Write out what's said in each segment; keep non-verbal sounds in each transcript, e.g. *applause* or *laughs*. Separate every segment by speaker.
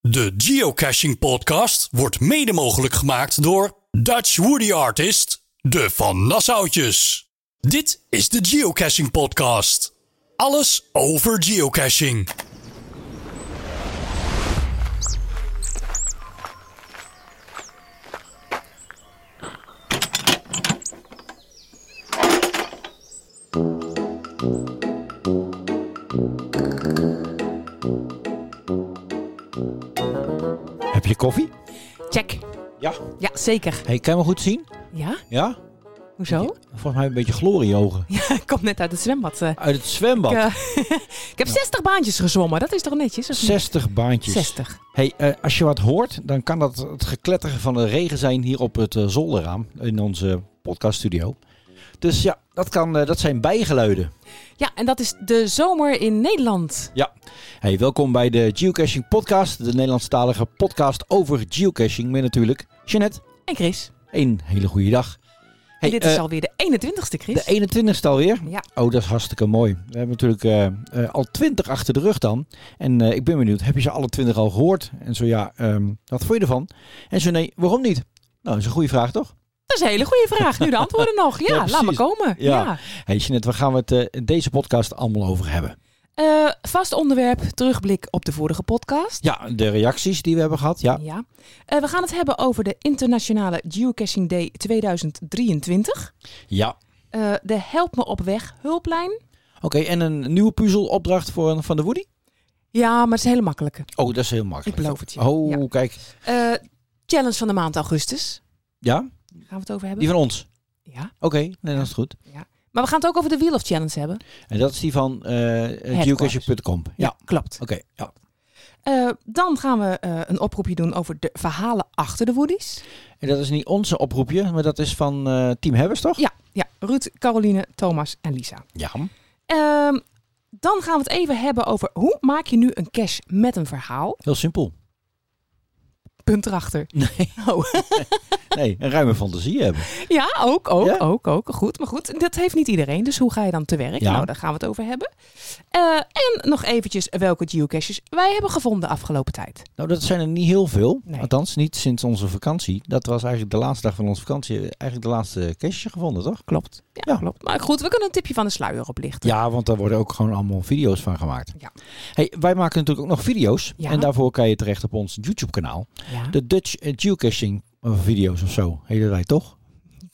Speaker 1: De Geocaching Podcast wordt mede mogelijk gemaakt door Dutch Woody Artist, de Van Nassautjes. Dit is de Geocaching Podcast. Alles over geocaching.
Speaker 2: Heb je koffie?
Speaker 3: Check.
Speaker 2: Ja.
Speaker 3: Ja, zeker.
Speaker 2: Hey, kan je me goed zien?
Speaker 3: Ja?
Speaker 2: Ja?
Speaker 3: Hoezo?
Speaker 2: Volgens mij een beetje glorieogen.
Speaker 3: *laughs* Ja, ik kom net uit het zwembad. eh. Ik,
Speaker 2: Uit het zwembad.
Speaker 3: eh, ik heb 60 baantjes gezwommen. Dat is toch netjes? of niet?
Speaker 2: 60 baantjes.
Speaker 3: 60.
Speaker 2: Hey, eh, als je wat hoort, dan kan dat het gekletter van de regen zijn hier op het eh, zolderraam in onze podcaststudio. Dus ja, dat, kan, eh, dat zijn bijgeluiden.
Speaker 3: Ja, en dat is de zomer in Nederland.
Speaker 2: Hey, welkom bij de Geocaching Podcast, de Nederlandstalige podcast over geocaching. Met natuurlijk Jeanette,
Speaker 3: En Chris.
Speaker 2: een hele goede dag. Hey,
Speaker 3: en dit
Speaker 2: eh,
Speaker 3: is alweer de 21ste, Chris.
Speaker 2: De 21ste alweer?
Speaker 3: Ja.
Speaker 2: Oh, dat is hartstikke mooi. We hebben natuurlijk eh, eh, al 20 achter de rug dan. En eh, ik ben benieuwd, heb je ze alle 20 al gehoord? En zo ja, ehm, wat vond je ervan? En zo nee, waarom niet? Nou, dat is een goede vraag toch?
Speaker 3: Dat is een hele goede vraag. Nu de antwoorden nog. Ja,
Speaker 2: Ja,
Speaker 3: laat maar
Speaker 2: precies.
Speaker 3: komen.
Speaker 2: Ja.
Speaker 3: Ja.
Speaker 2: Hey Jeanette, waar gaan we het eh, in deze podcast allemaal over hebben?
Speaker 3: Eh, vast onderwerp, terugblik op de vorige podcast.
Speaker 2: Ja, de reacties die we hebben gehad. Ja,
Speaker 3: Eh, we gaan het hebben over de Internationale Geocaching Day 2023.
Speaker 2: ja.
Speaker 3: Eh, de Help Me Op Weg hulplijn.
Speaker 2: Oké, en een nieuwe puzzelopdracht voor een van de Woody?
Speaker 3: Ja, maar het is een hele makkelijke.
Speaker 2: Oh, dat is heel
Speaker 3: Ik
Speaker 2: makkelijk.
Speaker 3: beloof het je.
Speaker 2: Oh,
Speaker 3: Ja.
Speaker 2: kijk.
Speaker 3: Eh, challenge van de maand augustus.
Speaker 2: Ja,
Speaker 3: Daar gaan we het over hebben.
Speaker 2: die van ons.
Speaker 3: Ja.
Speaker 2: Oké, nee, dat is goed.
Speaker 3: Maar we gaan het ook over de Wheel of Challenge hebben.
Speaker 2: En dat is die van eh geocaching.com. Ja,
Speaker 3: klopt.
Speaker 2: oké. ja.
Speaker 3: Eh, dan gaan we eh, een oproepje doen over de verhalen achter de Woodies.
Speaker 2: En dat is niet onze oproepje, maar dat is van eh, Team Hebbers, toch?
Speaker 3: Ja, ja, Ruud, Caroline, Thomas en Lisa.
Speaker 2: Ja.
Speaker 3: Ehm, dan gaan we het even hebben over hoe maak je nu een cache met een verhaal?
Speaker 2: Heel simpel.
Speaker 3: Punt erachter.
Speaker 2: Nee,
Speaker 3: Oh,
Speaker 2: nee een ruime fantasie hebben.
Speaker 3: ja, ook, ook,
Speaker 2: Ja?
Speaker 3: ook, ook. Goed, maar goed. Dat heeft niet iedereen, dus hoe ga je dan te werk?
Speaker 2: Ja.
Speaker 3: Nou, daar gaan we het over hebben. Eh, en nog eventjes welke geocaches wij hebben gevonden de afgelopen tijd.
Speaker 2: Nou, dat zijn er niet heel veel.
Speaker 3: Nee.
Speaker 2: Althans, niet sinds onze vakantie. Dat was eigenlijk de laatste dag van onze vakantie. Eigenlijk de laatste kerstje gevonden, toch?
Speaker 3: Klopt. Ja,
Speaker 2: Ja.
Speaker 3: klopt. Maar goed, we kunnen een tipje van de sluier oplichten.
Speaker 2: Ja, want daar worden ook gewoon allemaal video's van gemaakt.
Speaker 3: Ja.
Speaker 2: Hey, wij maken natuurlijk ook nog video's.
Speaker 3: Ja.
Speaker 2: En daarvoor kan je terecht op ons YouTube-kanaal.
Speaker 3: Ja.
Speaker 2: De Dutch eh, Geocaching eh, video's of zo. Hele wij toch?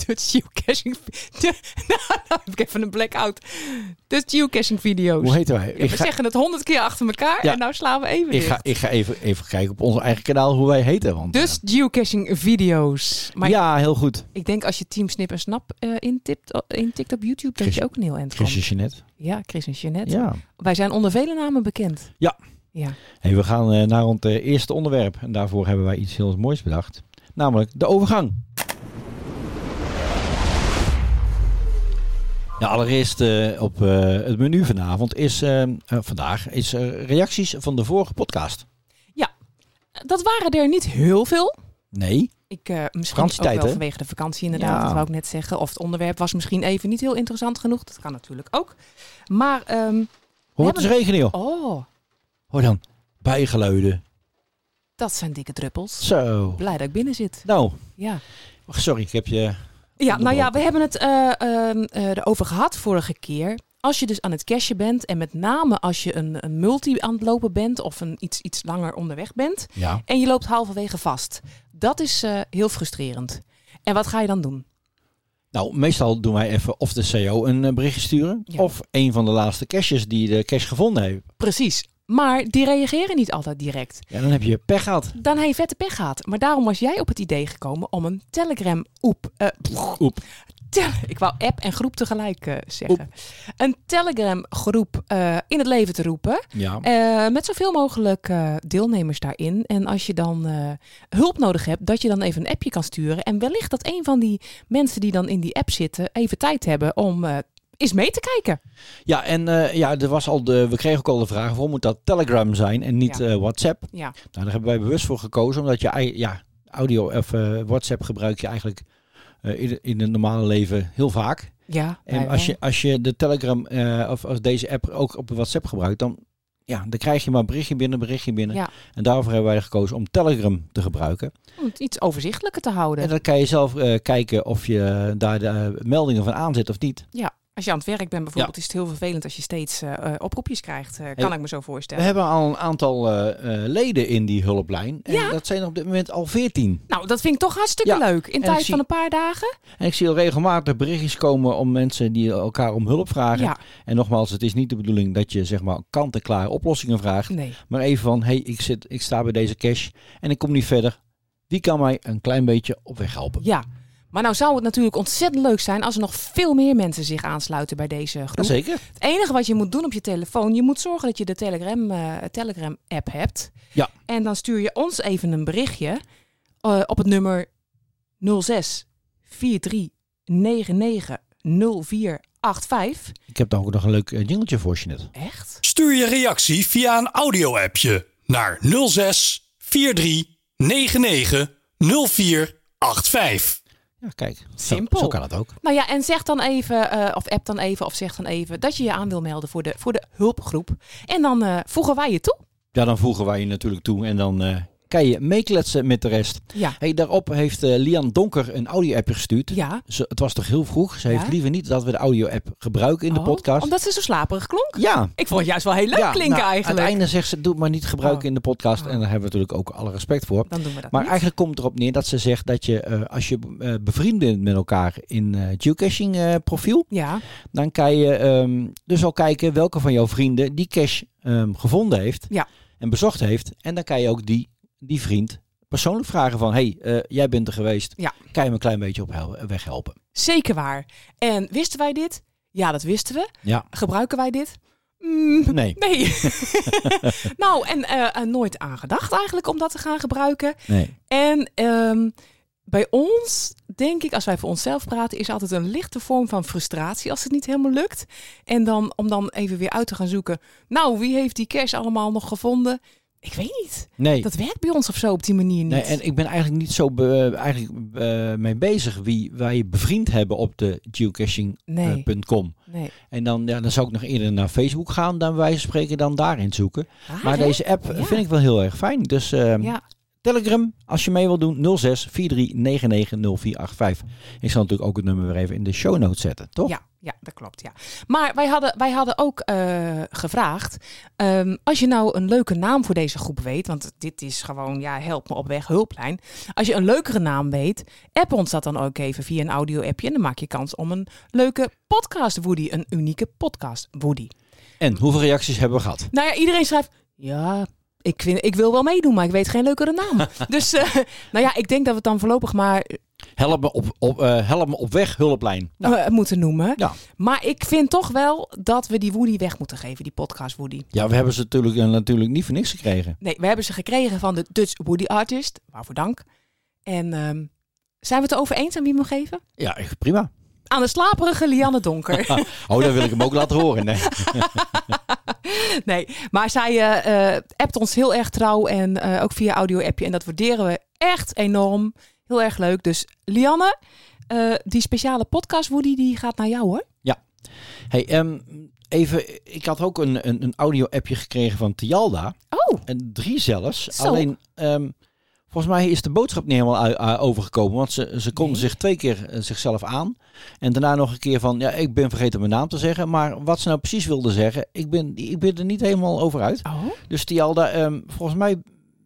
Speaker 3: Dutch geocaching... De- *laughs* nou, nou heb ik even een blackout. Dutch geocaching video's.
Speaker 2: Hoe heten wij?
Speaker 3: Ja, we zeggen het honderd keer achter elkaar
Speaker 2: Ja.
Speaker 3: en nou slaan we even
Speaker 2: ik ga, ik ga even, even kijken op ons eigen kanaal hoe wij heten. Want,
Speaker 3: Dus geocaching video's. Maar
Speaker 2: ja, heel goed.
Speaker 3: ik denk als je Team Snip en Snap eh, intipt, intikt op YouTube, dat
Speaker 2: Chris-
Speaker 3: je ook een heel eind komt.
Speaker 2: Chrisje Jeanette.
Speaker 3: Ja, Chris en Jeanette.
Speaker 2: Ja.
Speaker 3: Wij zijn onder vele namen bekend.
Speaker 2: Ja.
Speaker 3: Ja.
Speaker 2: Hey, we gaan eh, naar ons eh, eerste onderwerp. En daarvoor hebben wij iets heel moois bedacht. Namelijk de overgang. Ja, allereerst eh, op eh, het menu vanavond is, eh, eh, vandaag is eh, reacties van de vorige podcast.
Speaker 3: Dat waren er niet heel veel.
Speaker 2: Nee,
Speaker 3: Ik, eh misschien ook
Speaker 2: Vakantietijd,
Speaker 3: wel
Speaker 2: hè?
Speaker 3: vanwege de vakantie inderdaad,
Speaker 2: Ja.
Speaker 3: dat wou ik net zeggen. Of het onderwerp was misschien even niet heel interessant genoeg. Dat kan natuurlijk ook. Maar, ehm,
Speaker 2: hoort het eens regenen joh.
Speaker 3: oh,
Speaker 2: Hoor dan, bijgeluiden.
Speaker 3: dat zijn dikke druppels.
Speaker 2: Zo.
Speaker 3: Blij dat ik binnen zit.
Speaker 2: Nou,
Speaker 3: Ja,
Speaker 2: sorry, ik heb je...
Speaker 3: ja nou ja, we hebben het eh, ehm, eh, erover gehad vorige keer. Als je dus aan het cashen bent en met name als je een, een multi aan het lopen bent of een iets, iets langer onderweg bent
Speaker 2: Ja.
Speaker 3: en je loopt halverwege vast. Dat is eh, heel frustrerend. En wat ga je dan doen?
Speaker 2: Nou, meestal doen wij even of de CO een eh, berichtje sturen...
Speaker 3: Ja.
Speaker 2: of een van de laatste caches die de cache gevonden heeft.
Speaker 3: Precies. Maar die reageren niet altijd direct.
Speaker 2: Ja, dan heb je pech gehad.
Speaker 3: Dan heb je vette pech gehad. Maar daarom was jij op het idee gekomen om een Telegram oep. eh,
Speaker 2: Oep.
Speaker 3: tele- ik wou app en groep tegelijk eh, zeggen. Een Telegram groep eh, in het leven te roepen.
Speaker 2: Ja.
Speaker 3: eh, met zoveel mogelijk eh, deelnemers daarin. En als je dan eh, hulp nodig hebt, dat je dan even een appje kan sturen. En wellicht dat een van die mensen die dan in die app zitten, even tijd hebben om eh, eens mee te kijken.
Speaker 2: Ja, en eh, ja, er was al de, we kregen ook al de vraag, waarom moet dat Telegram zijn en niet
Speaker 3: Ja.
Speaker 2: eh, WhatsApp?
Speaker 3: Ja,
Speaker 2: Nou, daar hebben wij bewust voor gekozen, omdat je ei- ja, audio of eh, WhatsApp gebruik je eigenlijk eh, in, in het normale leven heel vaak.
Speaker 3: ja
Speaker 2: En
Speaker 3: wij
Speaker 2: als
Speaker 3: wel.
Speaker 2: je, als je de Telegram eh, of, of deze app ook op WhatsApp gebruikt, dan ja, dan krijg je maar een berichtje binnen, berichtje binnen.
Speaker 3: Ja.
Speaker 2: En daarvoor hebben wij gekozen om Telegram te gebruiken.
Speaker 3: eh, Om het iets overzichtelijker te houden.
Speaker 2: En dan kan je zelf eh, kijken of je daar de eh, meldingen van aanzet of niet.
Speaker 3: Als je aan het werk bent bijvoorbeeld, is het heel vervelend als je steeds eh, eh, oproepjes krijgt. eh, kan
Speaker 2: Hey,
Speaker 3: ik me zo
Speaker 2: We
Speaker 3: voorstellen.
Speaker 2: hebben al een aantal eh, eh, leden in die hulplijn. En
Speaker 3: Ja.
Speaker 2: dat zijn er op dit moment al veertien.
Speaker 3: Nou, dat vind ik toch hartstikke
Speaker 2: Ja,
Speaker 3: leuk. In
Speaker 2: ik
Speaker 3: tijd
Speaker 2: zie-
Speaker 3: van een paar dagen.
Speaker 2: En ik zie al regelmatig berichtjes komen om mensen die elkaar om hulp vragen.
Speaker 3: Ja,
Speaker 2: En nogmaals, het is niet de bedoeling dat je zeg maar kant-en-klare oplossingen vraagt.
Speaker 3: nee.
Speaker 2: Maar even van, hey, ik, zit, ik sta bij deze cash en ik kom niet verder. Wie kan mij een klein beetje op weg helpen?
Speaker 3: Ja. Maar nou zou het natuurlijk ontzettend leuk zijn als er nog veel meer mensen zich aansluiten bij deze groep.
Speaker 2: Jazeker.
Speaker 3: Het enige wat je moet doen op je telefoon, je moet zorgen dat je de Telegram, eh, Telegram app hebt.
Speaker 2: Ja.
Speaker 3: En dan stuur je ons even een berichtje eh, op het nummer 06 43 99 0485.
Speaker 2: Ik heb daar ook nog een leuk eh, jingletje voor, Jeanette.
Speaker 3: Echt?
Speaker 1: Stuur je reactie via een audio-appje naar 06 43 99 0485.
Speaker 2: Ja, kijk.
Speaker 3: Simpel.
Speaker 2: Zo, zo kan het ook.
Speaker 3: Nou ja, en zeg dan even, eh, of app dan even, of zeg dan even dat je je aan wil melden voor de, voor de hulpgroep. En dan eh, voegen wij je toe.
Speaker 2: Ja, dan voegen wij je natuurlijk toe en dan eh, kan je meekletsen met de rest.
Speaker 3: Ja.
Speaker 2: Hey, daarop heeft eh, Lian Donker een audio-appje gestuurd.
Speaker 3: Ja.
Speaker 2: Ze, het was toch heel vroeg. Ze heeft
Speaker 3: Ja.
Speaker 2: liever niet dat we de audio-app gebruiken in de
Speaker 3: Oh,
Speaker 2: podcast.
Speaker 3: Omdat ze zo slaperig klonk.
Speaker 2: Ja.
Speaker 3: Ik vond het juist wel heel leuk
Speaker 2: ja,
Speaker 3: klinken
Speaker 2: nou,
Speaker 3: eigenlijk.
Speaker 2: Aan het einde zegt ze, doe het maar niet gebruiken
Speaker 3: Oh.
Speaker 2: in de podcast.
Speaker 3: Oh.
Speaker 2: En daar hebben we natuurlijk ook alle respect voor.
Speaker 3: Dan doen we dat
Speaker 2: Maar
Speaker 3: niet.
Speaker 2: eigenlijk komt het erop neer dat ze zegt dat je, eh, als je eh, bevriend bent met elkaar in eh, geocaching eh, profiel,
Speaker 3: Ja,
Speaker 2: dan kan je ehm, dus al kijken welke van jouw vrienden die cache ehm, gevonden heeft
Speaker 3: Ja.
Speaker 2: en bezocht heeft. En dan kan je ook die, die vriend persoonlijk vragen van, hey, eh, jij bent er geweest,
Speaker 3: Ja.
Speaker 2: kan je me een klein beetje op hel-
Speaker 3: *laughs*
Speaker 2: weghelpen?
Speaker 3: zeker waar. En wisten wij dit? Ja, dat wisten we.
Speaker 2: Ja,
Speaker 3: Gebruiken wij dit? Mm,
Speaker 2: nee,
Speaker 3: nee. *laughs* nou, en eh, eh, nooit aangedacht eigenlijk om dat te gaan gebruiken.
Speaker 2: nee.
Speaker 3: En ehm, bij ons, denk ik, als wij voor onszelf praten, is er altijd een lichte vorm van frustratie als het niet helemaal lukt. En dan om dan even weer uit te gaan zoeken. Nou, wie heeft die cash allemaal nog gevonden? Ik weet niet.
Speaker 2: Nee.
Speaker 3: Dat werkt bij ons of zo op die manier niet.
Speaker 2: Nee, en eh, ik ben eigenlijk niet zo be- eigenlijk, eh, mee bezig wie wij bevriend hebben op de geocaching.com.
Speaker 3: nee, nee.
Speaker 2: En dan, ja, dan zou ik nog eerder naar Facebook gaan dan wij spreken dan daarin zoeken.
Speaker 3: Raar,
Speaker 2: maar
Speaker 3: hè?
Speaker 2: deze app
Speaker 3: Ah, Ja.
Speaker 2: vind ik wel heel erg fijn. Dus eh,
Speaker 3: Ja.
Speaker 2: Telegram, als je mee wil doen, 06 43 Ik zal natuurlijk ook het nummer weer even in de show notes zetten, toch?
Speaker 3: Ja, ja, dat klopt. Ja. Maar wij hadden, wij hadden ook eh, gevraagd. ehm, als je nou een leuke naam voor deze groep weet. Want dit is gewoon, ja, help me op weg, hulplijn. Als je een leukere naam weet, app ons dat dan ook even via een audio-appje. En dan maak je kans om een leuke podcast Woody. Een unieke podcast Woody.
Speaker 2: En hoeveel reacties hebben we gehad?
Speaker 3: Nou ja, iedereen schrijft. Ja. Ik, vind, ik wil wel meedoen, maar ik weet geen leukere
Speaker 2: *laughs*
Speaker 3: naam. dus eh, nou ja, ik denk dat we het dan voorlopig maar
Speaker 2: Help me op, op, eh, help me op weg, hulplijn. Nou,
Speaker 3: eh, moeten noemen.
Speaker 2: ja.
Speaker 3: Maar ik vind toch wel dat we die Woody weg moeten geven, die podcast Woody.
Speaker 2: ja, we hebben ze natuurlijk, eh, natuurlijk niet voor niks gekregen.
Speaker 3: Nee, we hebben ze gekregen van de Dutch Woody Artist. Waarvoor dank. En ehm, zijn we het erover eens aan wie we hem geven?
Speaker 2: Ja, echt prima.
Speaker 3: Aan de slaperige Lianne *laughs* Donker.
Speaker 2: Oh, dan wil ik hem ook *laughs* laten horen. Nee.
Speaker 3: nee, maar zij eh eh, appt ons heel erg trouw en eh, ook via audio-appje. En dat waarderen we echt enorm. Heel erg leuk. Dus Lianne, eh, die speciale podcast Woody, die gaat naar jou hoor.
Speaker 2: Hey, ehm, even, ik had ook een, een, een audio-appje gekregen van Tialda.
Speaker 3: Oh,
Speaker 2: En drie zelfs.
Speaker 3: Zo.
Speaker 2: Alleen, ehm, volgens mij is de boodschap niet helemaal ui- ui- overgekomen. Want ze, ze konden
Speaker 3: Nee.
Speaker 2: zich twee keer eh, zichzelf aan. En daarna nog een keer van, ja, ik ben vergeten mijn naam te zeggen. Maar wat ze nou precies wilde zeggen, ik ben, ik ben er niet helemaal over uit.
Speaker 3: oh.
Speaker 2: Dus Tialda, ehm, volgens mij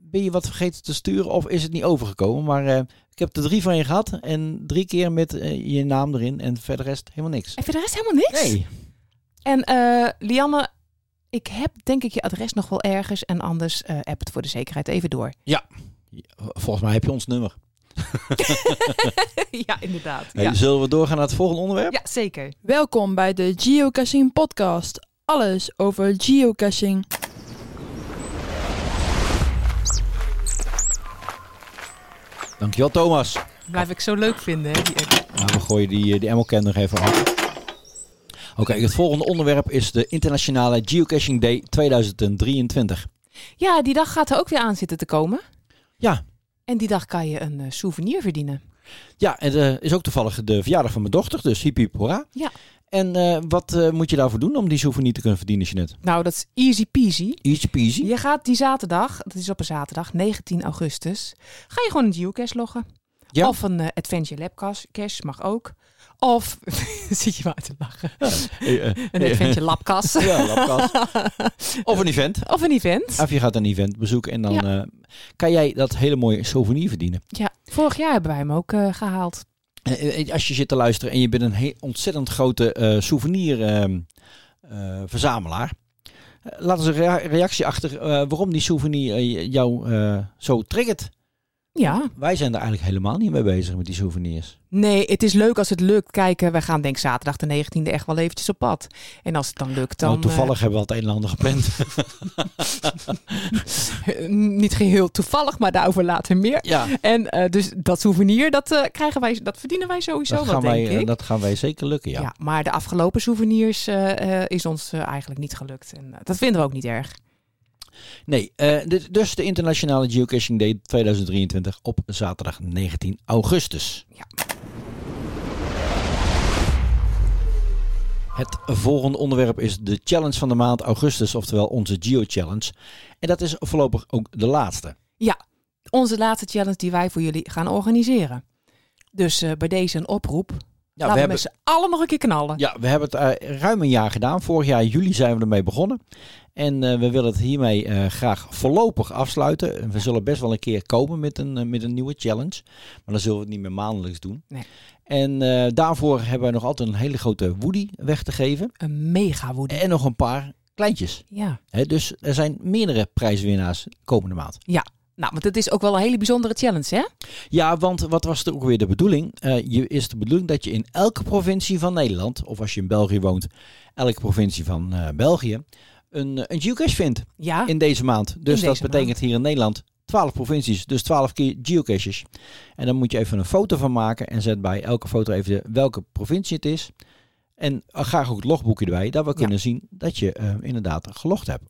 Speaker 2: ben je wat vergeten te sturen of is het niet overgekomen. Maar eh, ik heb er drie van je gehad. En drie keer met eh, je naam erin. En verder rest helemaal niks.
Speaker 3: En voor de rest helemaal niks?
Speaker 2: Nee.
Speaker 3: En eh, Lianne, ik heb denk ik je adres nog wel ergens. En anders eh app het voor de zekerheid even door.
Speaker 2: Volgens mij heb je ons nummer.
Speaker 3: *laughs* ja, inderdaad.
Speaker 2: Hey, Zullen we doorgaan naar het volgende onderwerp?
Speaker 3: ja, zeker.
Speaker 4: Welkom bij de Geocaching Podcast. Alles over geocaching.
Speaker 2: Dankjewel Thomas.
Speaker 3: Blijf ik zo leuk vinden. Hè, die app.
Speaker 2: Nou, we gooien die, eh, die MLK nog even af. Oké, het volgende onderwerp is de Internationale Geocaching Day 2023.
Speaker 3: Ja, die dag gaat er ook weer aan zitten te komen.
Speaker 2: Ja,
Speaker 3: En die dag kan je een eh, souvenir verdienen.
Speaker 2: Ja, en eh is ook toevallig de verjaardag van mijn dochter, dus hiep hiep hoera.
Speaker 3: Ja.
Speaker 2: En eh, wat eh, moet je daarvoor doen om die souvenir te kunnen verdienen, Jeanette?
Speaker 3: Nou, dat is easy peasy.
Speaker 2: Easy peasy.
Speaker 3: Je gaat die zaterdag, dat is op een zaterdag, 19 augustus, ga je gewoon een geocache loggen.
Speaker 2: Ja.
Speaker 3: Of een eh, Adventure Lab cache- cache, mag ook. Of, *laughs* zit je maar te lachen,
Speaker 2: Eh, eh,
Speaker 3: *laughs* een Adventure Lab
Speaker 2: *laughs*
Speaker 3: cache.
Speaker 2: ja, lapkast. Of een event.
Speaker 3: Of een event.
Speaker 2: Of je gaat een event bezoeken en dan eh, kan jij dat hele mooie souvenir verdienen.
Speaker 3: Ja, vorig jaar hebben wij hem ook eh, gehaald.
Speaker 2: Eh, eh, als je zit te luisteren en je bent een he- ontzettend grote eh souvenir ehm, eh, verzamelaar. eh, Laat ons een rea- reactie achter eh, waarom die souvenir eh, jou eh, zo triggert.
Speaker 3: Ja.
Speaker 2: Wij zijn er eigenlijk helemaal niet mee bezig met die souvenirs.
Speaker 3: Nee, het is leuk als het lukt. Kijk, eh, we gaan denk ik zaterdag de 19e echt wel eventjes op pad. En als het dan lukt, dan...
Speaker 2: Nou, toevallig hebben we al het een en ander
Speaker 3: *laughs*
Speaker 2: gepland.
Speaker 3: eh, *laughs* niet geheel toevallig, maar daarover later meer.
Speaker 2: *laughs* ja,
Speaker 3: En eh, dus dat souvenir, dat, eh, krijgen wij, dat verdienen wij sowieso
Speaker 2: dat
Speaker 3: wel,
Speaker 2: gaan, wij,
Speaker 3: denk
Speaker 2: eh,
Speaker 3: ik.
Speaker 2: dat gaan wij zeker lukken, ja.
Speaker 3: Ja, maar de afgelopen souvenirs eh, eh, is ons eh, eigenlijk niet gelukt. En eh, dat vinden we ook niet erg.
Speaker 2: Nee, eh, dit- dus de Internationale Geocaching Day 2023 op zaterdag 19 augustus.
Speaker 3: Ja.
Speaker 2: Het volgende onderwerp is de challenge van de maand augustus, oftewel onze Geo Challenge. En dat is voorlopig ook de laatste.
Speaker 3: Onze laatste challenge die wij voor jullie gaan organiseren. Dus eh, bij deze een oproep.
Speaker 2: Ja,
Speaker 3: Laten we,
Speaker 2: we hebben,
Speaker 3: met z'n allen nog een keer knallen.
Speaker 2: ja, we hebben het eh, ruim een jaar gedaan. Vorig jaar juli zijn we ermee begonnen. En eh, we willen het hiermee eh, graag voorlopig afsluiten. En We zullen best wel een keer komen met een, eh, met een nieuwe challenge. Maar dan zullen we het niet meer maandelijks doen.
Speaker 3: Nee.
Speaker 2: En eh, daarvoor hebben we nog altijd een hele grote woody weg te geven.
Speaker 3: Een mega woede.
Speaker 2: En nog een paar kleintjes.
Speaker 3: Ja.
Speaker 2: Hè, dus er zijn meerdere prijswinnaars komende maand.
Speaker 3: Nou, want het is ook wel een hele bijzondere challenge, hè?
Speaker 2: Ja, want wat was er ook weer de bedoeling? Eh, je, is de bedoeling dat je in elke provincie van Nederland, of als je in België woont, elke provincie van eh, België, een, eh, een geocache vindt
Speaker 3: Ja.
Speaker 2: in deze maand. Dus
Speaker 3: deze
Speaker 2: dat betekent hier in Nederland 12 provincies, dus 12 keer geocaches. En dan moet je even een foto van maken en zet bij elke foto even de- welke provincie het is. En eh, graag ook het logboekje erbij, dat we kunnen zien dat je eh, inderdaad gelogd hebt.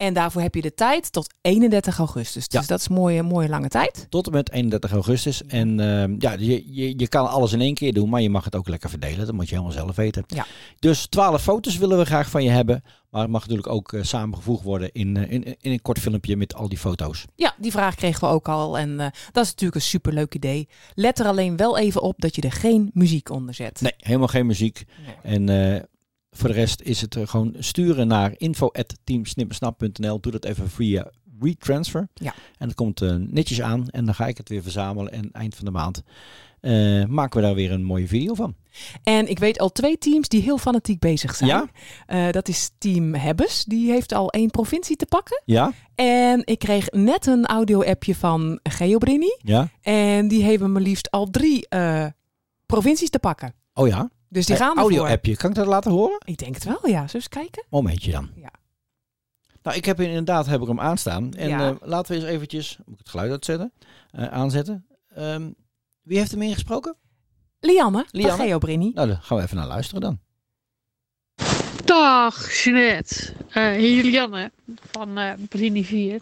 Speaker 3: En daarvoor heb je de tijd tot 31 augustus. Dus
Speaker 2: Ja.
Speaker 3: dat is een mooie, mooie lange tijd.
Speaker 2: Tot en met 31 augustus. En ehm, ja, je, je, je kan alles in één keer doen, maar je mag het ook lekker verdelen. Dat moet je helemaal zelf weten.
Speaker 3: Ja.
Speaker 2: Dus 12 foto's willen we graag van je hebben. Maar het mag natuurlijk ook eh, samengevoegd worden in, eh, in, in een kort filmpje met al die foto's.
Speaker 3: Ja, die vraag kregen we ook al. En eh, dat is natuurlijk een superleuk idee. Let er alleen wel even op dat je er geen muziek onder zet.
Speaker 2: Nee, helemaal geen muziek.
Speaker 3: Nee.
Speaker 2: En eh, voor de rest is het eh, gewoon sturen naar info.teamsnippersnap.nl. Doe dat even via retransfer.
Speaker 3: Ja.
Speaker 2: En dat komt eh, netjes aan. En dan ga ik het weer verzamelen. En eind van de maand eh, maken we daar weer een mooie video van.
Speaker 3: En ik weet al twee teams die heel fanatiek bezig zijn.
Speaker 2: Ja?
Speaker 3: Eh, dat is team Hebbes. Die heeft al één provincie te pakken.
Speaker 2: Ja?
Speaker 3: En ik kreeg net een audio-appje van Geobrini.
Speaker 2: Ja?
Speaker 3: En die hebben maar liefst al drie eh, provincies te pakken.
Speaker 2: Oh ja?
Speaker 3: Dus die gaan ervoor.
Speaker 2: audio-appje. Kan ik dat laten horen?
Speaker 3: Ik denk het wel, ja. Zullen we eens kijken?
Speaker 2: Momentje dan.
Speaker 3: Ja.
Speaker 2: Nou, ik heb hier inderdaad heb ik hem aanstaan. En
Speaker 3: Ja.
Speaker 2: eh, laten we eens eventjes... Moet ik het geluid uitzetten? Eh, aanzetten. Ehm, wie heeft hem ingesproken?
Speaker 3: Lianne, Lianne.
Speaker 2: Lianne.
Speaker 3: van Geobrini.
Speaker 2: Nou, daar gaan we even naar luisteren
Speaker 3: *laughs*
Speaker 2: dan.
Speaker 5: Dag Jeanette, Eh, hier Lianne van eh Brini 4.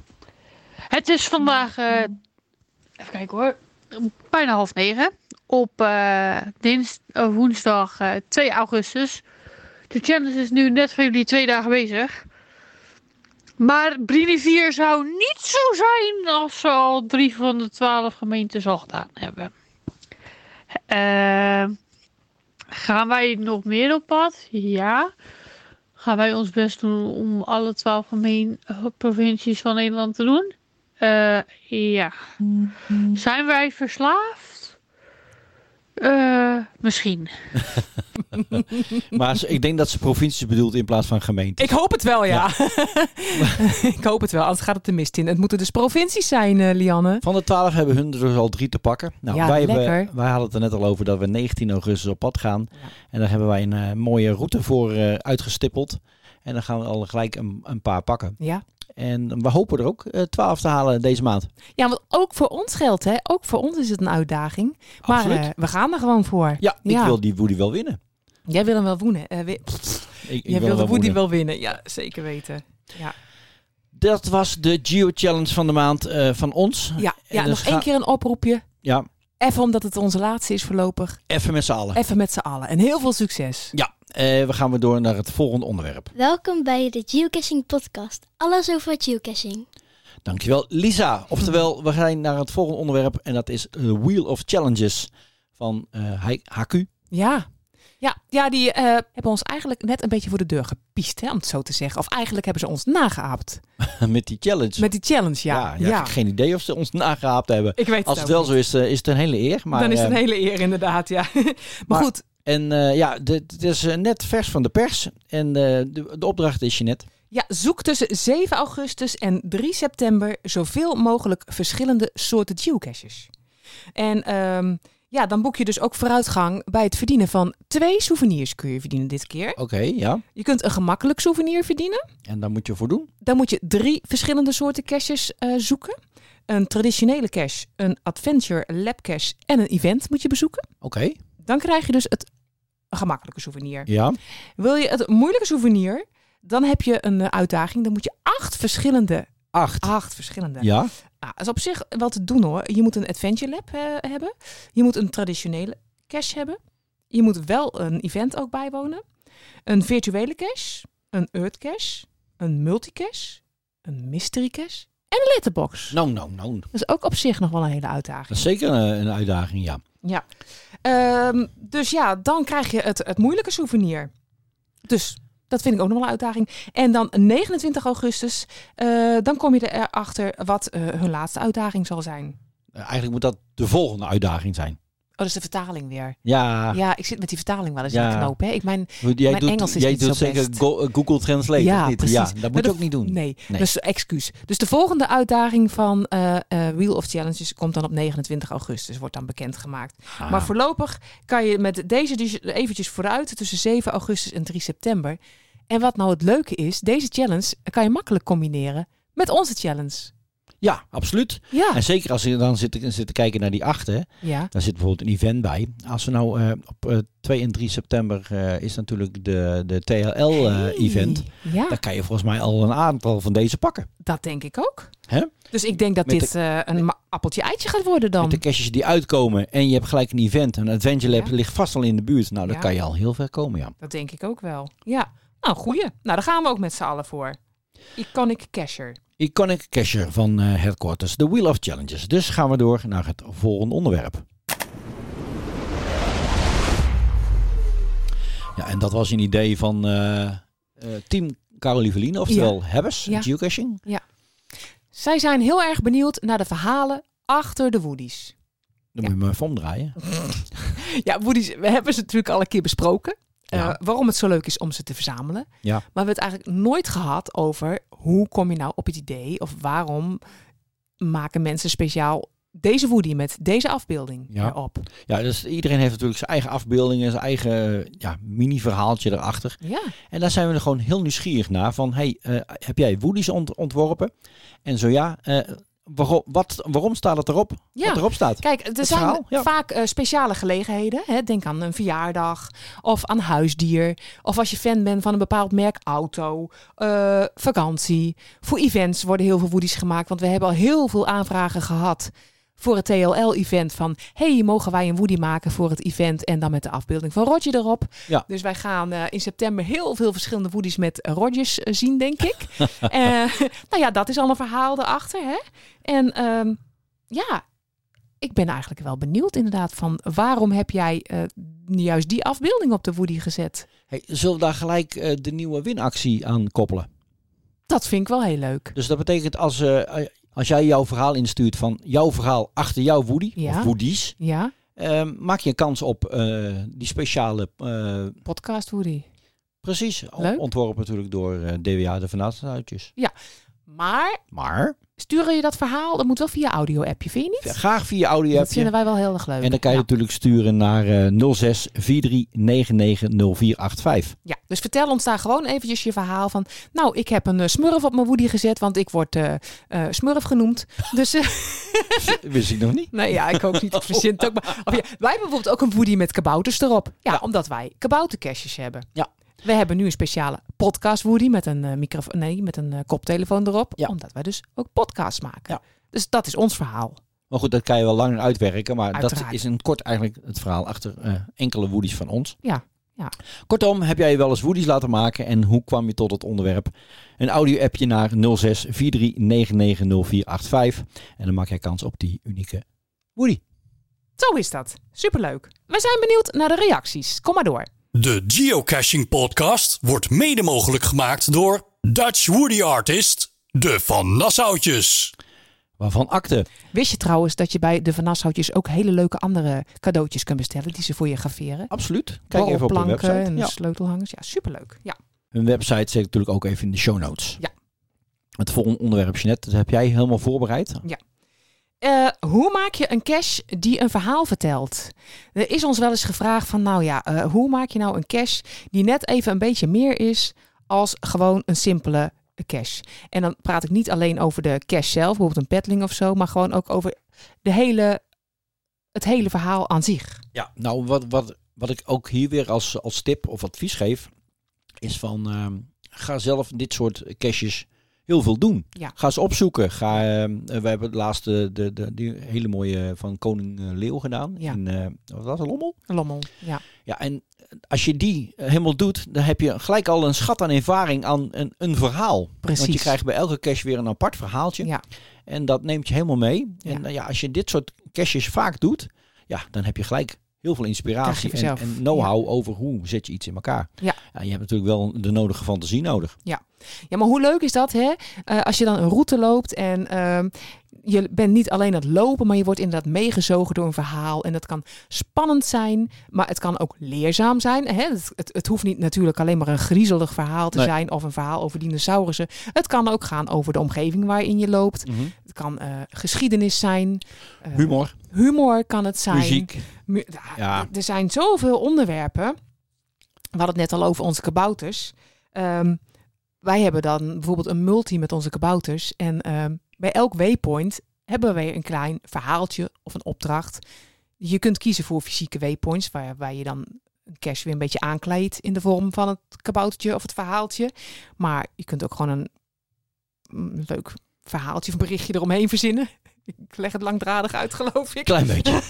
Speaker 5: Het is vandaag, eh, even kijken hoor, bijna half negen. Op eh, dins, eh, woensdag eh, 2 augustus. De challenge is nu net voor jullie twee dagen bezig. Maar Brini 4 zou niet zo zijn als ze al drie van de twaalf gemeentes al gedaan hebben. Eh, gaan wij nog meer op pad? Ja gaan wij ons best doen om alle twaalf gemeen eh, provincies van Nederland te doen. Eh, ja. Zijn wij verslaafd? Eh, misschien.
Speaker 2: Maar ze- ik denk dat ze provincies bedoelt in plaats van gemeente.
Speaker 3: Ik hoop het wel, ja. *laughs* ik hoop het wel, anders gaat het de mist in. Het moeten dus provincies zijn, eh, Lianne.
Speaker 2: Van de twaalf hebben hun er dus al drie te pakken. Nou,
Speaker 3: Ja,
Speaker 2: wij,
Speaker 3: lekker.
Speaker 2: hebben, wij hadden het er net al over dat we 19 augustus op pad gaan. En daar hebben wij een eh, mooie route voor eh, uitgestippeld. En dan gaan we al gelijk een, een paar pakken.
Speaker 3: Ja.
Speaker 2: En we hopen er ook eh, 12 te halen deze maand.
Speaker 3: ja, want ook voor ons geldt, hè. Ook voor ons is het een uitdaging. Maar
Speaker 2: Absoluut.
Speaker 3: eh, we gaan er gewoon voor.
Speaker 2: Ja, ik
Speaker 3: Ja.
Speaker 2: wil die Woody wel winnen.
Speaker 3: Jij wil hem wel woenen. eh, wi-
Speaker 2: Ik, ik
Speaker 3: Jij
Speaker 2: wil
Speaker 3: wil de
Speaker 2: wel
Speaker 3: Woody
Speaker 2: winnen.
Speaker 3: wel winnen. Ja, zeker weten.
Speaker 2: Dat was de Geo Challenge van de maand eh, van ons.
Speaker 3: Ja, ja
Speaker 2: dus
Speaker 3: nog
Speaker 2: ga-
Speaker 3: één keer een oproepje.
Speaker 2: Ja,
Speaker 3: Even omdat het onze laatste is voorlopig.
Speaker 2: Even met z'n allen.
Speaker 3: Even met z'n allen. En heel veel succes.
Speaker 2: Ja, eh, we gaan weer door naar het volgende onderwerp.
Speaker 6: Welkom bij de Geocaching Podcast. Alles over geocaching.
Speaker 2: Dankjewel, Lisa. Oftewel, we gaan naar het volgende onderwerp en dat is eh, Wheel of Challenges van eh, Hi- HQ.
Speaker 3: Ja. Ja, ja die eh, hebben ons eigenlijk net een beetje voor de deur gepiest, hè, om het zo te zeggen. Of eigenlijk hebben ze ons nageaapt.
Speaker 2: *laughs* Met die challenge.
Speaker 3: Met die challenge, ja.
Speaker 2: ja, ja, Ik heb geen idee of ze ons nageaapt hebben.
Speaker 3: Ik weet
Speaker 2: Als
Speaker 3: het
Speaker 2: het
Speaker 3: ook
Speaker 2: wel zo is, eh, is het een hele eer. Maar,
Speaker 3: dan is het
Speaker 2: eh,
Speaker 3: een hele eer inderdaad, ja. *laughs* maar,
Speaker 2: maar-
Speaker 3: goed,
Speaker 2: En eh, ja, dit, dit is eh, net vers van de pers. En eh, de, de opdracht is je net.
Speaker 3: ja, zoek tussen 7 augustus en 3 september zoveel mogelijk verschillende soorten geocaches. En ehm, ja, dan boek je dus ook vooruitgang bij het verdienen van twee souvenirs kun je verdienen dit keer.
Speaker 2: Oké, ja.
Speaker 3: Je kunt een gemakkelijk souvenir verdienen.
Speaker 2: En daar moet je voor doen.
Speaker 3: Dan moet je drie verschillende soorten caches eh, zoeken. Een traditionele cache, een adventure lab cache en een event moet je bezoeken.
Speaker 2: Oké,
Speaker 3: Dan krijg je dus het gemakkelijke souvenir.
Speaker 2: ja.
Speaker 3: Wil je het moeilijke souvenir, dan heb je een eh, uitdaging. Dan moet je acht verschillende,
Speaker 2: Acht.
Speaker 3: acht verschillende.
Speaker 2: Ja,
Speaker 3: Nou, dat is op zich wel te doen hoor. Je moet een adventure lab eh, hebben. Je moet een traditionele cache hebben. Je moet wel een event ook bijwonen. Een virtuele cache, een earth cache, een multicache, een mystery cache en een letterbox.
Speaker 2: nou, nou, nou.
Speaker 3: Dat is ook op zich nog wel een hele
Speaker 2: Dat
Speaker 3: uitdaging.
Speaker 2: is zeker een, een uitdaging, ja.
Speaker 3: Ja. Ehm, dus ja, dan krijg je het, het moeilijke souvenir. Dus dat vind ik ook nog wel een uitdaging. En dan 29 augustus, eh, dan kom je erachter wat eh, hun laatste uitdaging zal zijn.
Speaker 2: Eh, Eigenlijk moet dat de volgende uitdaging zijn.
Speaker 3: Oh, dat is de vertaling weer.
Speaker 2: Ja,
Speaker 3: Ja, ik zit met die vertaling wel eens
Speaker 2: Ah. Ja.
Speaker 3: in de knoop. Hè? Ik mijn,
Speaker 2: want jij
Speaker 3: mijn
Speaker 2: doet,
Speaker 3: Engels is
Speaker 2: jij
Speaker 3: niet
Speaker 2: doet
Speaker 3: zo
Speaker 2: zeker
Speaker 3: best.
Speaker 2: Go- eh, Google Translate.
Speaker 3: Ja,
Speaker 2: of niet?
Speaker 3: precies.
Speaker 2: ja dat moet
Speaker 3: Maar
Speaker 2: je
Speaker 3: dat-
Speaker 2: ook niet doen.
Speaker 3: nee,
Speaker 2: Nee.
Speaker 3: dus excuus. Dus de volgende uitdaging van eh, eh, Wheel of Challenges komt dan op 29 augustus. Wordt dan bekendgemaakt.
Speaker 2: Ah,
Speaker 3: Maar voorlopig kan je met deze dus eventjes vooruit tussen 7 augustus en 3 september. En wat nou het leuke is, deze challenge kan je makkelijk combineren met onze challenge.
Speaker 2: Ja, absoluut.
Speaker 3: Ja.
Speaker 2: En zeker als je dan zit, zit te kijken naar die achten,
Speaker 3: Ja.
Speaker 2: daar zit bijvoorbeeld een event bij. Als we nou eh, op eh, 2 en 3 september eh, is natuurlijk de, de TLL-event.
Speaker 3: Hey, Ja,
Speaker 2: Daar eh, kan je volgens mij al een aantal van deze pakken.
Speaker 3: dat denk ik ook.
Speaker 2: Hè?
Speaker 3: Dus ik denk dat
Speaker 2: Met
Speaker 3: dit eh, een ma- appeltje-eitje gaat worden dan.
Speaker 2: Met de caches die uitkomen en je hebt gelijk een event. Een Adventure Lab
Speaker 3: Ja.
Speaker 2: ligt vast al in de buurt. Nou, dan
Speaker 3: Ja.
Speaker 2: kan je al heel ver komen, ja.
Speaker 3: Dat denk ik ook wel. Ja. Nou, goeie. Nou, daar gaan we ook met z'n allen voor. Iconic Casher.
Speaker 2: Iconic Cacher van eh, Headquarters, de Wheel of Challenges. Dus gaan we door naar het volgende onderwerp. Ja, en dat was een idee van eh, eh, team Carolie Verlien, oftewel Hebbers,
Speaker 3: Ja.
Speaker 2: geocaching.
Speaker 3: Zij zijn heel erg benieuwd naar de verhalen achter de Woodies.
Speaker 2: Dan moet je me even omdraaien.
Speaker 3: Ja, Woodies, we hebben ze natuurlijk al een keer besproken. eh,
Speaker 2: Ja.
Speaker 3: waarom het zo leuk is om ze te verzamelen.
Speaker 2: Ja.
Speaker 3: Maar we hebben het eigenlijk nooit gehad over hoe kom je nou op het idee of waarom maken mensen speciaal deze Woody met deze afbeelding
Speaker 2: Ja.
Speaker 3: erop.
Speaker 2: Ja, dus iedereen heeft natuurlijk zijn eigen afbeeldingen, zijn eigen ja, mini-verhaaltje erachter.
Speaker 3: Ja,
Speaker 2: En daar zijn we er gewoon heel nieuwsgierig naar. Van, hey, eh, heb jij Woody's ont- ontworpen? En zo ja, eh, waarom, wat, waarom staat het erop?
Speaker 3: Ja.
Speaker 2: Wat erop staat?
Speaker 3: Kijk, er zijn
Speaker 2: verhaal, ja.
Speaker 3: vaak eh, speciale gelegenheden. Hè? Denk aan een verjaardag of aan huisdier. Of als je fan bent van een bepaald merk auto, eh, vakantie. Voor events worden heel veel woedies gemaakt. Want we hebben al heel veel aanvragen gehad voor het TLL-event van... hey, mogen wij een woody maken voor het event... en dan met de afbeelding van Roger erop.
Speaker 2: Ja.
Speaker 3: Dus wij gaan eh, in september heel veel verschillende woodies met eh, Rogers eh, zien, denk
Speaker 2: *laughs*
Speaker 3: ik. Eh, *laughs* nou ja, dat is al een verhaal erachter, hè? En ehm, ja, ik ben eigenlijk wel benieuwd inderdaad van... waarom heb jij eh, juist die afbeelding op de woody gezet?
Speaker 2: Hey, zullen we daar gelijk eh, de nieuwe winactie aan koppelen?
Speaker 3: Dat vind ik wel heel leuk.
Speaker 2: Dus dat betekent als, eh, als jij jouw verhaal instuurt van jouw verhaal achter jouw Woody,
Speaker 3: Ja.
Speaker 2: of Woody's,
Speaker 3: Ja,
Speaker 2: eh, maak je kans op eh, die speciale... eh,
Speaker 3: podcast woody.
Speaker 2: precies, on-
Speaker 3: Leuk.
Speaker 2: ontworpen natuurlijk door eh, DWA, de Vanavondhuidjes.
Speaker 3: Maar
Speaker 2: Maar
Speaker 3: sturen je dat verhaal, dat moet wel via audio-appje, vind je niet?
Speaker 2: graag via audio
Speaker 3: dat
Speaker 2: heb je.
Speaker 3: vinden wij wel heel erg leuk.
Speaker 2: En dan kan je
Speaker 3: ja.
Speaker 2: natuurlijk sturen naar eh 06 43
Speaker 3: *laughs* Ja, dus vertel ons daar gewoon eventjes je verhaal van... nou, ik heb een eh, smurf op mijn woody gezet, want ik word eh, eh, smurf genoemd. Dus... eh,
Speaker 2: Wist ik nog niet.
Speaker 3: Nee, ja, ik ook niet. Ik verzin het ook maar. Of ja, wij hebben bijvoorbeeld ook een woody met kabouters erop. Ja, omdat wij kaboutercashjes hebben.
Speaker 2: Ja.
Speaker 3: We hebben nu een speciale podcast woody met een eh, microfoon, nee, met een eh, koptelefoon erop,
Speaker 2: Ja.
Speaker 3: omdat wij dus ook podcasts maken.
Speaker 2: Ja.
Speaker 3: Dus dat is ons verhaal.
Speaker 2: Maar goed, dat kan je wel langer uitwerken. Maar dat
Speaker 3: Uiteraard.
Speaker 2: is in kort eigenlijk het verhaal achter eh, enkele woedies van ons.
Speaker 3: Ja, ja.
Speaker 2: Kortom, heb jij je wel eens woedies laten maken en hoe kwam je tot het onderwerp? Een audio-appje naar 06 43 en dan maak jij kans op die unieke woody.
Speaker 3: Zo is dat. Superleuk. We zijn benieuwd naar de reacties. Kom maar door.
Speaker 1: De Geocaching Podcast wordt mede mogelijk gemaakt door Dutch Woody Artist, de Van Nassautjes.
Speaker 2: Waarvan akte?
Speaker 3: Wist je trouwens dat je bij de Van Nassautjes ook hele leuke andere cadeautjes kunt bestellen die ze voor je graveren?
Speaker 2: Absoluut. Kijk even op hun
Speaker 3: Borrelplanken
Speaker 2: website.
Speaker 3: en
Speaker 2: Ja.
Speaker 3: sleutelhangers. Ja, superleuk. Ja.
Speaker 2: Hun website zet ik natuurlijk ook even in de show notes.
Speaker 3: Ja.
Speaker 2: Het volgende onderwerp, Jeanette, dat heb jij helemaal voorbereid.
Speaker 3: Eh, hoe maak je een cache die een verhaal vertelt? Er is ons wel eens gevraagd van, nou ja, eh, hoe maak je nou een cache die net even een beetje meer is als gewoon een simpele cache? En dan praat ik niet alleen over de cache zelf, bijvoorbeeld een petling of zo, maar gewoon ook over de hele, het hele verhaal aan zich.
Speaker 2: Ja, nou, wat, wat, wat ik ook hier weer als, als tip of advies geef, is van ehm, ga zelf dit soort caches heel veel doen.
Speaker 3: Ja.
Speaker 2: Ga ze opzoeken. Ga, ehm, eh, we hebben laatst de, de, de, die hele mooie van Koning eh, Leeuw gedaan.
Speaker 3: Ja.
Speaker 2: In, eh, wat was dat, Lommel?
Speaker 3: Lommel, ja.
Speaker 2: Ja, en als je die eh, helemaal doet, dan heb je gelijk al een schat aan ervaring aan een, een verhaal.
Speaker 3: Precies.
Speaker 2: Want je krijgt bij elke cache weer een apart verhaaltje.
Speaker 3: Ja.
Speaker 2: En dat neemt je helemaal mee. En
Speaker 3: Ja.
Speaker 2: nou ja, als je dit soort caches vaak doet, ja, dan heb je gelijk heel veel
Speaker 3: Krijg je
Speaker 2: inspiratie en,
Speaker 3: vanzelf.
Speaker 2: en know-how over hoe zet je iets in elkaar.
Speaker 3: Ja.
Speaker 2: je hebt natuurlijk wel de nodige fantasie nodig.
Speaker 3: Ja, maar hoe leuk is dat, hè? Eh, als je dan een route loopt en ehm, je bent niet alleen aan het lopen, maar je wordt inderdaad meegezogen door een verhaal. En dat kan spannend zijn, maar het kan ook leerzaam zijn. Hè? Het, het, het hoeft niet natuurlijk alleen maar een griezelig verhaal te
Speaker 2: Nee.
Speaker 3: zijn of een verhaal over dinosaurussen. Het kan ook gaan over de omgeving waarin je loopt. Het kan eh, geschiedenis zijn. Eh,
Speaker 2: Humor,
Speaker 3: humor kan het zijn.
Speaker 2: muziek.
Speaker 3: Mu- ja,
Speaker 2: Ja.
Speaker 3: Er zijn zoveel onderwerpen. We hadden het net al over onze kabouters. Ehm, wij hebben dan bijvoorbeeld een multi met onze kabouters. En ehm, bij elk waypoint hebben wij een klein verhaaltje of een opdracht. Je kunt kiezen voor fysieke waypoints, waar, waar je dan een cash weer een beetje aankleedt in de vorm van het kaboutertje of het verhaaltje. Maar je kunt ook gewoon een mm, leuk verhaaltje of berichtje eromheen verzinnen. *laughs* Ik leg het langdradig uit, geloof ik.
Speaker 2: Klein beetje.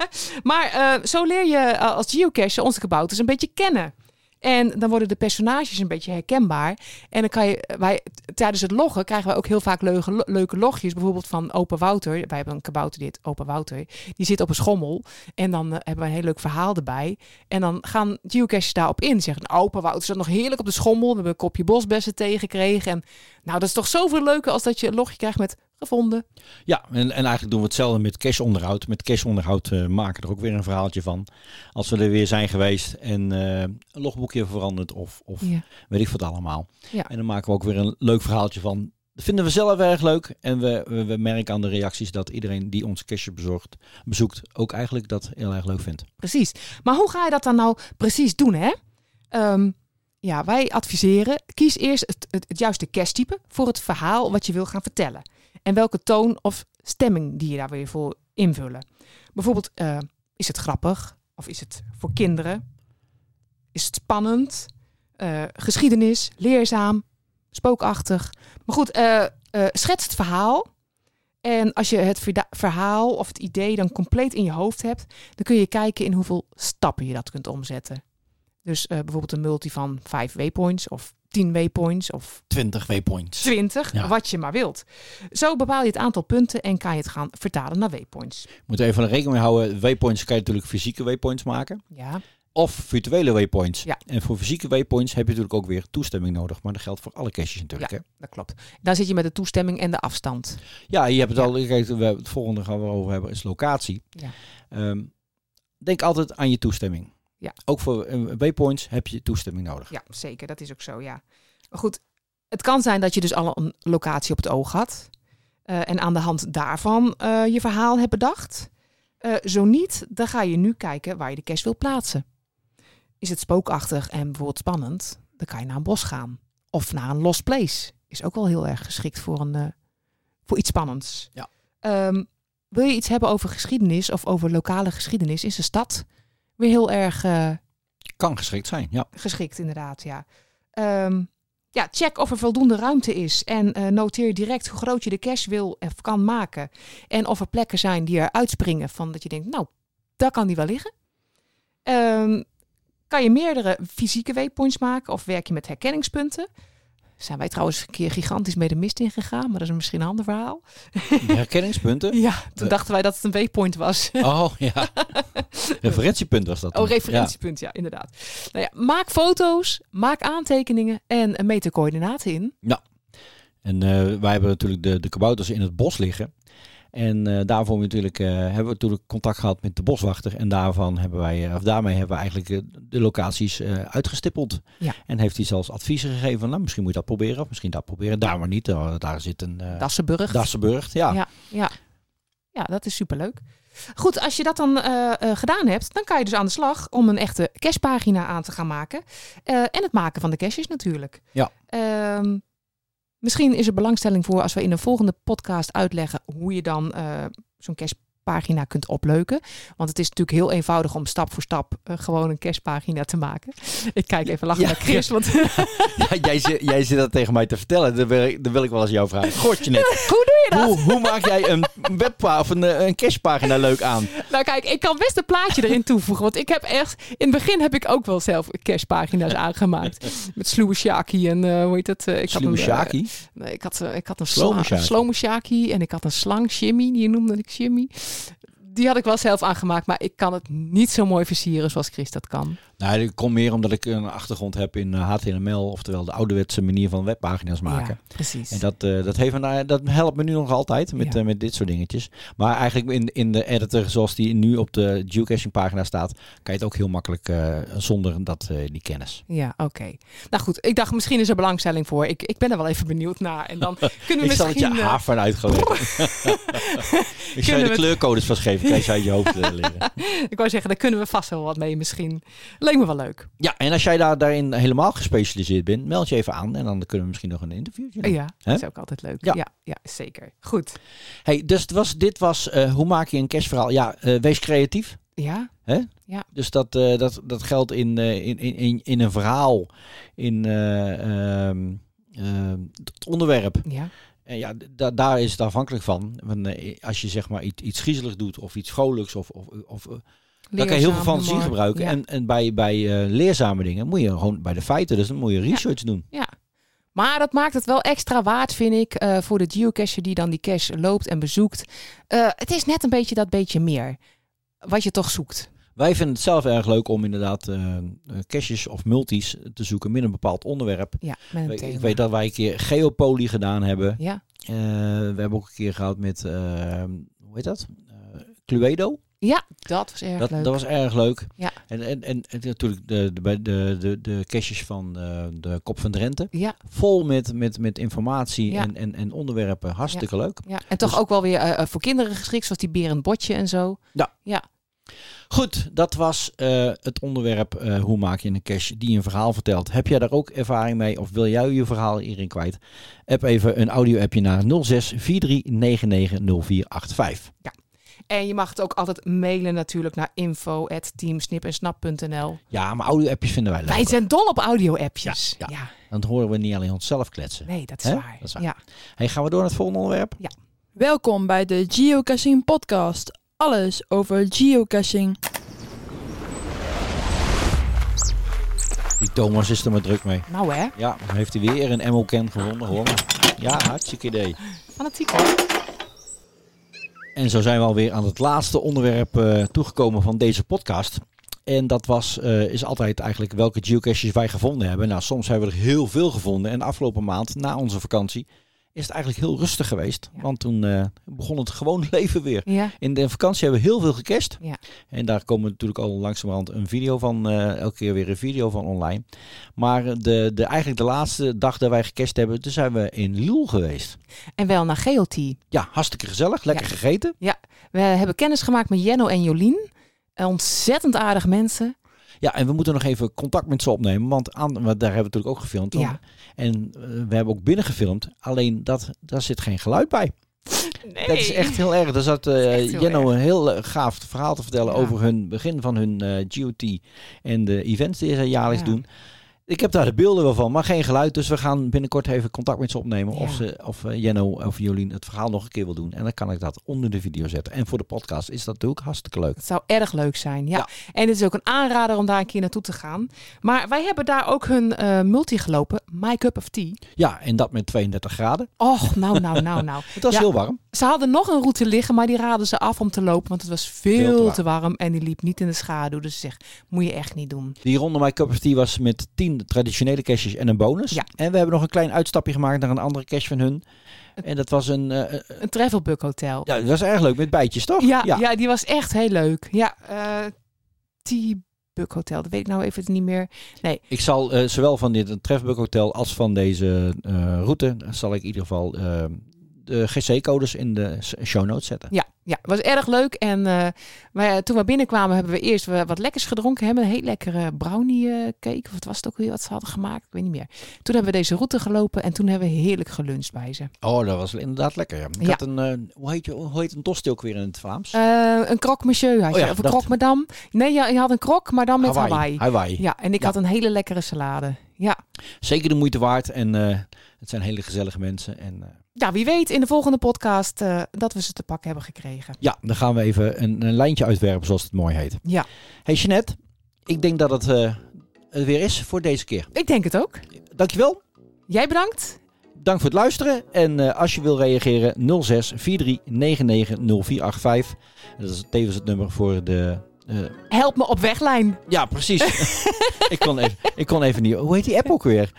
Speaker 3: *laughs* maar eh, zo leer je eh, als geocacher onze kabouters een beetje kennen. En dan worden de personages een beetje herkenbaar. En dan kan je, eh, wij, t- tijdens het loggen krijgen wij ook heel vaak leuke, leuke logjes. Bijvoorbeeld van Opa Wouter. Wij hebben een kabouter dit, Opa Wouter. Die zit op een schommel. En dan eh, hebben we een heel leuk verhaal erbij. En dan gaan geocaches daarop in. Zeggen, nou, Opa Wouter zat nog heerlijk op de schommel. We hebben een kopje bosbessen tegengekregen. En nou, dat is toch zoveel leuker als dat je een logje krijgt met gevonden.
Speaker 2: Ja, en, en eigenlijk doen we hetzelfde met cashonderhoud. Met cashonderhoud eh, maken we er ook weer een verhaaltje van. Als we er weer zijn geweest en eh, een logboekje veranderd of, of
Speaker 3: Ja.
Speaker 2: weet ik wat allemaal.
Speaker 3: Ja.
Speaker 2: En dan maken we ook weer een leuk verhaaltje van. Dat vinden we zelf erg leuk. En we, we, we merken aan de reacties dat iedereen die ons cashje bezorgt, bezoekt, ook eigenlijk dat heel erg leuk vindt.
Speaker 3: Precies. Maar hoe ga je dat dan nou precies doen, hè? Ehm, ja, wij adviseren, kies eerst het, het, het juiste kersttype voor het verhaal wat je wil gaan vertellen. En welke toon of stemming die je daar weer voor invullen. Bijvoorbeeld, eh, is het grappig? Of is het voor kinderen? Is het spannend? Eh, geschiedenis, leerzaam, spookachtig. Maar goed, eh, eh, schets het verhaal. En als je het verda- verhaal of het idee dan compleet in je hoofd hebt, dan kun je kijken in hoeveel stappen je dat kunt omzetten. Dus eh, bijvoorbeeld een multi van 5 waypoints of 10 waypoints of
Speaker 2: 20 waypoints.
Speaker 3: 20,
Speaker 2: Ja.
Speaker 3: wat je maar wilt. Zo bepaal je het aantal punten en kan je het gaan vertalen naar waypoints.
Speaker 2: Moet even er rekening mee houden. Waypoints kan je natuurlijk fysieke waypoints maken.
Speaker 3: Ja,
Speaker 2: Of virtuele waypoints.
Speaker 3: Ja.
Speaker 2: En voor fysieke waypoints heb je natuurlijk ook weer toestemming nodig. Maar dat geldt voor alle caches natuurlijk. hè?
Speaker 3: dat klopt. Dan zit je met de toestemming en de afstand.
Speaker 2: Ja, je hebt het al. Kijk, we, het volgende gaan we over hebben is locatie.
Speaker 3: Ja.
Speaker 2: Ehm, denk altijd aan je toestemming.
Speaker 3: Ja.
Speaker 2: Ook voor eh, waypoints heb je toestemming nodig.
Speaker 3: Ja, zeker. Dat is ook zo, ja. Maar goed, het kan zijn dat je dus al een locatie op het oog had. eh, en aan de hand daarvan eh, je verhaal hebt bedacht. Eh, zo niet, dan ga je nu kijken waar je de cache wil plaatsen. Is het spookachtig en bijvoorbeeld spannend, dan kan je naar een bos gaan. Of naar een lost place. Is ook wel heel erg geschikt voor, een, eh, voor iets spannends.
Speaker 2: Ja.
Speaker 3: Ehm, wil je iets hebben over geschiedenis of over lokale geschiedenis, is de stad weer heel erg... eh, *laughs*
Speaker 2: Kan geschikt zijn, ja.
Speaker 3: geschikt, inderdaad, ja. Ehm, ja, check of er voldoende ruimte is en eh, noteer direct hoe groot je de cache wil of kan maken. En of er plekken zijn die er uitspringen van dat je denkt, nou, daar kan die wel liggen. Ehm, kan je meerdere fysieke waypoints maken of werk je met herkenningspunten? Zijn wij trouwens een keer gigantisch mee de mist in gegaan, maar dat is misschien een ander verhaal.
Speaker 2: Herkenningspunten?
Speaker 3: Ja, toen
Speaker 2: Eh.
Speaker 3: dachten wij dat het een waypoint was. *laughs*
Speaker 2: Oh ja. Referentiepunt was dat. dan.
Speaker 3: Oh, referentiepunt, ja, inderdaad. Nou ja, maak foto's, maak aantekeningen en eh, meet de coördinaten in.
Speaker 2: Ja. En eh, wij hebben natuurlijk de, de kabouters in het bos liggen. En eh, daarvoor hebben we natuurlijk, eh, hebben we natuurlijk contact gehad met de boswachter. En daarvan hebben wij, eh, of daarmee hebben we eigenlijk eh, de locaties eh, uitgestippeld.
Speaker 3: Ja.
Speaker 2: En heeft hij zelfs adviezen gegeven van, nou, misschien moet je dat proberen. Of misschien dat proberen. Daar maar niet. eh, daar zit een eh
Speaker 3: Dassenburg.
Speaker 2: Dassenburg. Ja.
Speaker 3: Ja. Ja. ja, dat is superleuk. Goed, als je dat dan eh, eh, gedaan hebt, dan kan je dus aan de slag om een echte cashpagina aan te gaan maken. Eh, en het maken van de caches natuurlijk.
Speaker 2: Ja.
Speaker 3: Ehm, misschien is er belangstelling voor als we in een volgende podcast uitleggen hoe je dan eh, zo'n cashpagina kunt opleuken. Want het is natuurlijk heel eenvoudig om stap voor stap eh, gewoon een cashpagina te maken. Ik kijk even lachen
Speaker 2: Ja.
Speaker 3: naar Chris, want
Speaker 2: *laughs* Ja, jij, zit- jij zit dat tegen mij te vertellen. Dan wil ik, dan wil ik wel eens jou vragen. Gortje
Speaker 3: *laughs*
Speaker 2: net.
Speaker 3: *laughs* hoe doe je dat?
Speaker 2: Hoe, hoe maak jij een webpa of een, eh, een cashpagina leuk aan?
Speaker 3: Nou kijk, ik kan best een plaatje erin toevoegen. Want ik heb echt... In het begin heb ik ook wel zelf
Speaker 2: *laughs*
Speaker 3: cashpagina's aangemaakt. Met Sluwe Shaki en eh, hoe heet dat? eh, ik had een,
Speaker 2: Sluwe
Speaker 3: eh,
Speaker 2: Sjaki.
Speaker 3: nee, ik had, eh, ik had een
Speaker 2: Slome
Speaker 3: sla-
Speaker 2: Sjaki.
Speaker 3: Slome Sjaki en ik had een slang, Jimmy. Die noemde ik Jimmy. Die had ik wel zelf aangemaakt. Maar ik kan het niet zo mooi versieren zoals Chris dat kan.
Speaker 2: Nou, dat komt meer omdat ik een achtergrond heb in eh, HTML, oftewel de ouderwetse manier van webpagina's maken.
Speaker 3: Ja, precies.
Speaker 2: En dat, eh, dat, heeft me, nou- dat helpt me nu nog altijd met,
Speaker 3: Ja.
Speaker 2: eh, met dit soort dingetjes. Maar eigenlijk in, in de editor zoals die nu op de geocaching pagina staat, kan je het ook heel makkelijk eh, zonder dat, eh, die kennis.
Speaker 3: Ja, oké. Nou goed, ik dacht misschien is er belangstelling voor. Ik, ik ben er wel even benieuwd naar.
Speaker 2: *laughs*
Speaker 3: En dan kunnen we
Speaker 2: Ik zal het je
Speaker 3: misschien... eh,
Speaker 2: haven *laughs* uitgelegd. ik zal je
Speaker 3: we
Speaker 2: de
Speaker 3: het-
Speaker 2: kleurcodes van geven, kan je ze uit je hoofd
Speaker 3: *laughs*
Speaker 2: eh, leren.
Speaker 3: ik wou zeggen, daar kunnen we vast wel wat mee misschien. Leek me wel leuk.
Speaker 2: Ja, en als jij daar, daarin helemaal gespecialiseerd bent, meld je even aan en dan kunnen we misschien nog een interviewtje doen.
Speaker 3: Ja,
Speaker 2: Hè?
Speaker 3: dat is ook altijd leuk.
Speaker 2: Ja.
Speaker 3: Ja, ja, zeker. Goed.
Speaker 2: Hey, dus het was, dit was eh, hoe maak je een cashverhaal? Ja, eh, wees creatief.
Speaker 3: Ja,
Speaker 2: Dus dat, eh, dat, dat geldt in, eh, in, in- in, in een verhaal, in eh, ehm, ehm, het onderwerp.
Speaker 3: ja,
Speaker 2: En ja, da- daar is het afhankelijk van. Want, eh, als je zeg maar iets, iets griezeligs doet of iets vrolijks, of, of, of, eh, dan kan je heel veel
Speaker 3: Leerzaam,
Speaker 2: fantasie
Speaker 3: humor.
Speaker 2: gebruiken.
Speaker 3: Ja.
Speaker 2: En, en bij, bij eh, leerzame dingen moet je gewoon bij de feiten, dus dan moet je research doen.
Speaker 3: Maar dat maakt het wel extra waard, vind ik, eh, voor de geocacher die dan die cache loopt en bezoekt. Eh, het is net een beetje dat beetje meer. Wat je toch zoekt.
Speaker 2: Wij vinden het zelf erg leuk om inderdaad eh eh, caches of multis te zoeken met een bepaald onderwerp.
Speaker 3: Ja, met een
Speaker 2: Ik-
Speaker 3: thema.
Speaker 2: Ik weet dat wij een keer geopoly gedaan hebben.
Speaker 3: Ja,
Speaker 2: Eh, we hebben ook een keer gehad met, eh, hoe heet dat? Eh, Cluedo.
Speaker 3: ja dat was erg
Speaker 2: Dat,
Speaker 3: leuk.
Speaker 2: dat was erg leuk.
Speaker 3: Ja.
Speaker 2: En, en, en, en natuurlijk de, de, bij de, de, de caches van eh, de Kop van Drenthe.
Speaker 3: Ja,
Speaker 2: Vol met, met, met informatie
Speaker 3: Ja.
Speaker 2: en, en, en onderwerpen. Hartstikke leuk.
Speaker 3: ja, en toch
Speaker 2: Dus-
Speaker 3: ook wel weer eh, eh, voor kinderen geschikt, zoals die Berend Botje en zo.
Speaker 2: Goed, dat was eh, het onderwerp eh, hoe maak je een cache die een verhaal vertelt. Heb jij daar ook ervaring mee of wil jij je verhaal hierin kwijt? App even een audio-appje naar 06 43
Speaker 3: En je mag het ook altijd mailen natuurlijk naar info.teamsnipensnap.nl.
Speaker 2: Ja, maar audio-appjes vinden wij leuk.
Speaker 3: Wij zijn dol op audio-appjes.
Speaker 2: Ja, Dan horen we niet alleen onszelf kletsen.
Speaker 3: nee, dat is,
Speaker 2: Hè?
Speaker 3: waar.
Speaker 2: Dat is waar.
Speaker 3: Ja.
Speaker 2: Hey, gaan we door naar het volgende onderwerp?
Speaker 4: Welkom bij de Geocaching Podcast. Alles over geocaching.
Speaker 2: Die Thomas is er maar druk mee.
Speaker 3: Nou hè,
Speaker 2: Ja, dan heeft hij weer een MO-can gewonnen. Hoor. Ja, hartstikke idee.
Speaker 3: fanatiek hoor.
Speaker 2: En zo zijn we alweer aan het laatste onderwerp eh, toegekomen van deze podcast. En dat was, eh, is altijd eigenlijk welke geocaches wij gevonden hebben. Nou, soms hebben we er heel veel gevonden. En de afgelopen maand, na onze vakantie, is het eigenlijk heel rustig geweest.
Speaker 3: Ja.
Speaker 2: Want toen eh, begon het gewoon *laughs* leven weer.
Speaker 3: Ja.
Speaker 2: In de vakantie hebben we heel veel gecast.
Speaker 3: Ja.
Speaker 2: En daar komen natuurlijk al langzamerhand een video van, eh, elke keer weer een video van online. Maar eh, de, de, eigenlijk de laatste dag dat wij gecast hebben, toen zijn we in Liel geweest.
Speaker 3: En wel naar Geotie.
Speaker 2: Ja, hartstikke gezellig, lekker gegeten.
Speaker 3: We hebben kennis gemaakt met Jenno en Jolien. Eh, Ontzettend aardig mensen.
Speaker 2: Ja, en we moeten nog even contact met ze opnemen, want aan, want daar hebben we natuurlijk ook gefilmd.
Speaker 3: Ja.
Speaker 2: En eh, we hebben ook binnen gefilmd, alleen dat, daar zit geen geluid bij.
Speaker 3: Nee.
Speaker 2: Dat is echt heel erg. Daar zat eh,
Speaker 3: echt heel
Speaker 2: Jenno een heel eh, gaaf verhaal te vertellen
Speaker 3: Ja.
Speaker 2: over hun begin van hun eh, GOT en de events die ze jaarlijks
Speaker 3: Ja.
Speaker 2: doen. Ik heb daar de beelden wel van, maar geen geluid. Dus we gaan binnenkort even contact met ze opnemen.
Speaker 3: Ja.
Speaker 2: Of, ze, of eh, Jenno of Jolien het verhaal nog een keer wil doen. En dan kan ik dat onder de video zetten. En voor de podcast is dat natuurlijk hartstikke leuk.
Speaker 3: Het zou erg leuk zijn, ja.
Speaker 2: Ja.
Speaker 3: En het is ook een aanrader om daar een keer naartoe te gaan. Maar wij hebben daar ook hun eh, multi gelopen, My Cup of Tea.
Speaker 2: Ja, en dat met 32 graden.
Speaker 3: Och, nou, nou, nou, *laughs* nou.
Speaker 2: Het was
Speaker 3: Ja.
Speaker 2: heel warm.
Speaker 3: Ze hadden nog een route liggen, maar die raden ze af om te lopen. Want het was veel,
Speaker 2: Veel te
Speaker 3: te, warm en die liep niet in de schaduw. Dus zeg, moet je echt niet doen.
Speaker 2: Die ronde My Cup of Tea was met 10 traditionele caches en een bonus.
Speaker 3: Ja.
Speaker 2: En we hebben nog een klein uitstapje gemaakt naar een andere cache van hun. En dat was een... eh, eh,
Speaker 3: Een travelbug hotel.
Speaker 2: ja, dat was erg leuk met bijtjes, toch?
Speaker 3: Ja, ja. die was echt heel leuk. Ja, eh T-Bug Hotel, dat weet ik nou even niet meer.
Speaker 2: Ik zal eh, zowel van dit Trefbuk Hotel als van deze eh, route, zal ik in ieder geval eh, de GC-codes in de s- show notes zetten.
Speaker 3: Ja, ja het was erg leuk. En eh, maar toen we binnenkwamen hebben we eerst eh, wat lekkers gedronken. Hebben een heel lekkere brownie eh, cake. Of wat was het ook weer wat ze hadden gemaakt? Ik weet niet meer. Toen hebben we deze route gelopen en toen hebben we heerlijk geluncht bij ze.
Speaker 2: Oh, dat was inderdaad lekker. ja. Ik
Speaker 3: Ja.
Speaker 2: had een, eh, hoe, heet je, hoe heet een tosti ook weer in het Vlaams?
Speaker 3: Eh, een krok monsieur had
Speaker 2: Oh
Speaker 3: je.
Speaker 2: ja,
Speaker 3: of een
Speaker 2: dat.
Speaker 3: krok madame. Nee, ja, je had een krok, maar dan met Hawaii.
Speaker 2: Hawaii.
Speaker 3: Ja, en ik
Speaker 2: Ja.
Speaker 3: had een hele lekkere salade. Ja.
Speaker 2: Zeker de moeite waard en eh, het zijn hele gezellige mensen. En, eh,
Speaker 3: ja, wie weet in de volgende podcast eh, dat we ze te pakken hebben gekregen.
Speaker 2: ja, dan gaan we even een, een lijntje uitwerpen, zoals het mooi heet.
Speaker 3: Ja.
Speaker 2: Hey Jeanette, ik denk dat het eh, het weer is voor deze keer.
Speaker 3: Ik denk het ook.
Speaker 2: Dankjewel.
Speaker 3: Jij bedankt.
Speaker 2: Dank voor het luisteren. En eh, als je wil reageren, 06 43 99 0485. Dat is tevens het nummer voor de. eh,
Speaker 3: Help me op weglijn.
Speaker 2: ja,
Speaker 3: *laughs*
Speaker 2: precies. ik, kon even, ik kon even niet. Hoe heet die app ook weer?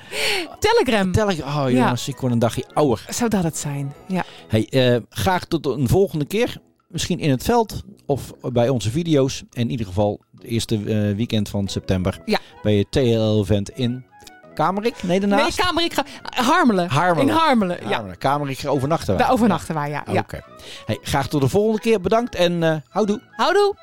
Speaker 3: Telegram.
Speaker 2: Tel ik. Oh jongens, ik word een dagje ouder.
Speaker 3: Zou dat het zijn? Ja.
Speaker 2: Hey, eh, graag tot een volgende keer. Misschien in het veld of bij onze video's. En in ieder geval het eerste eh, weekend van september.
Speaker 3: Ja.
Speaker 2: Bij het TL-event in Kamerik. Nee, daarnaast.
Speaker 3: Nee, kamer, ik ga... Harmelen.
Speaker 2: Harmelen. Ah,
Speaker 3: In Harmelen, ja.
Speaker 2: Kamerik. Kamerik overnachten wij.
Speaker 3: Daar overnachten wij, ja.
Speaker 2: Oké.
Speaker 3: ja.
Speaker 2: Hey, graag tot de volgende keer. Bedankt en eh, houdoe.
Speaker 3: Houdoe.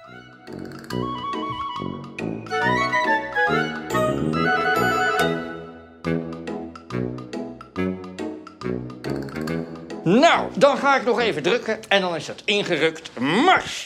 Speaker 7: Nou, dan ga ik nog even drukken en dan is dat ingerukt. Mars!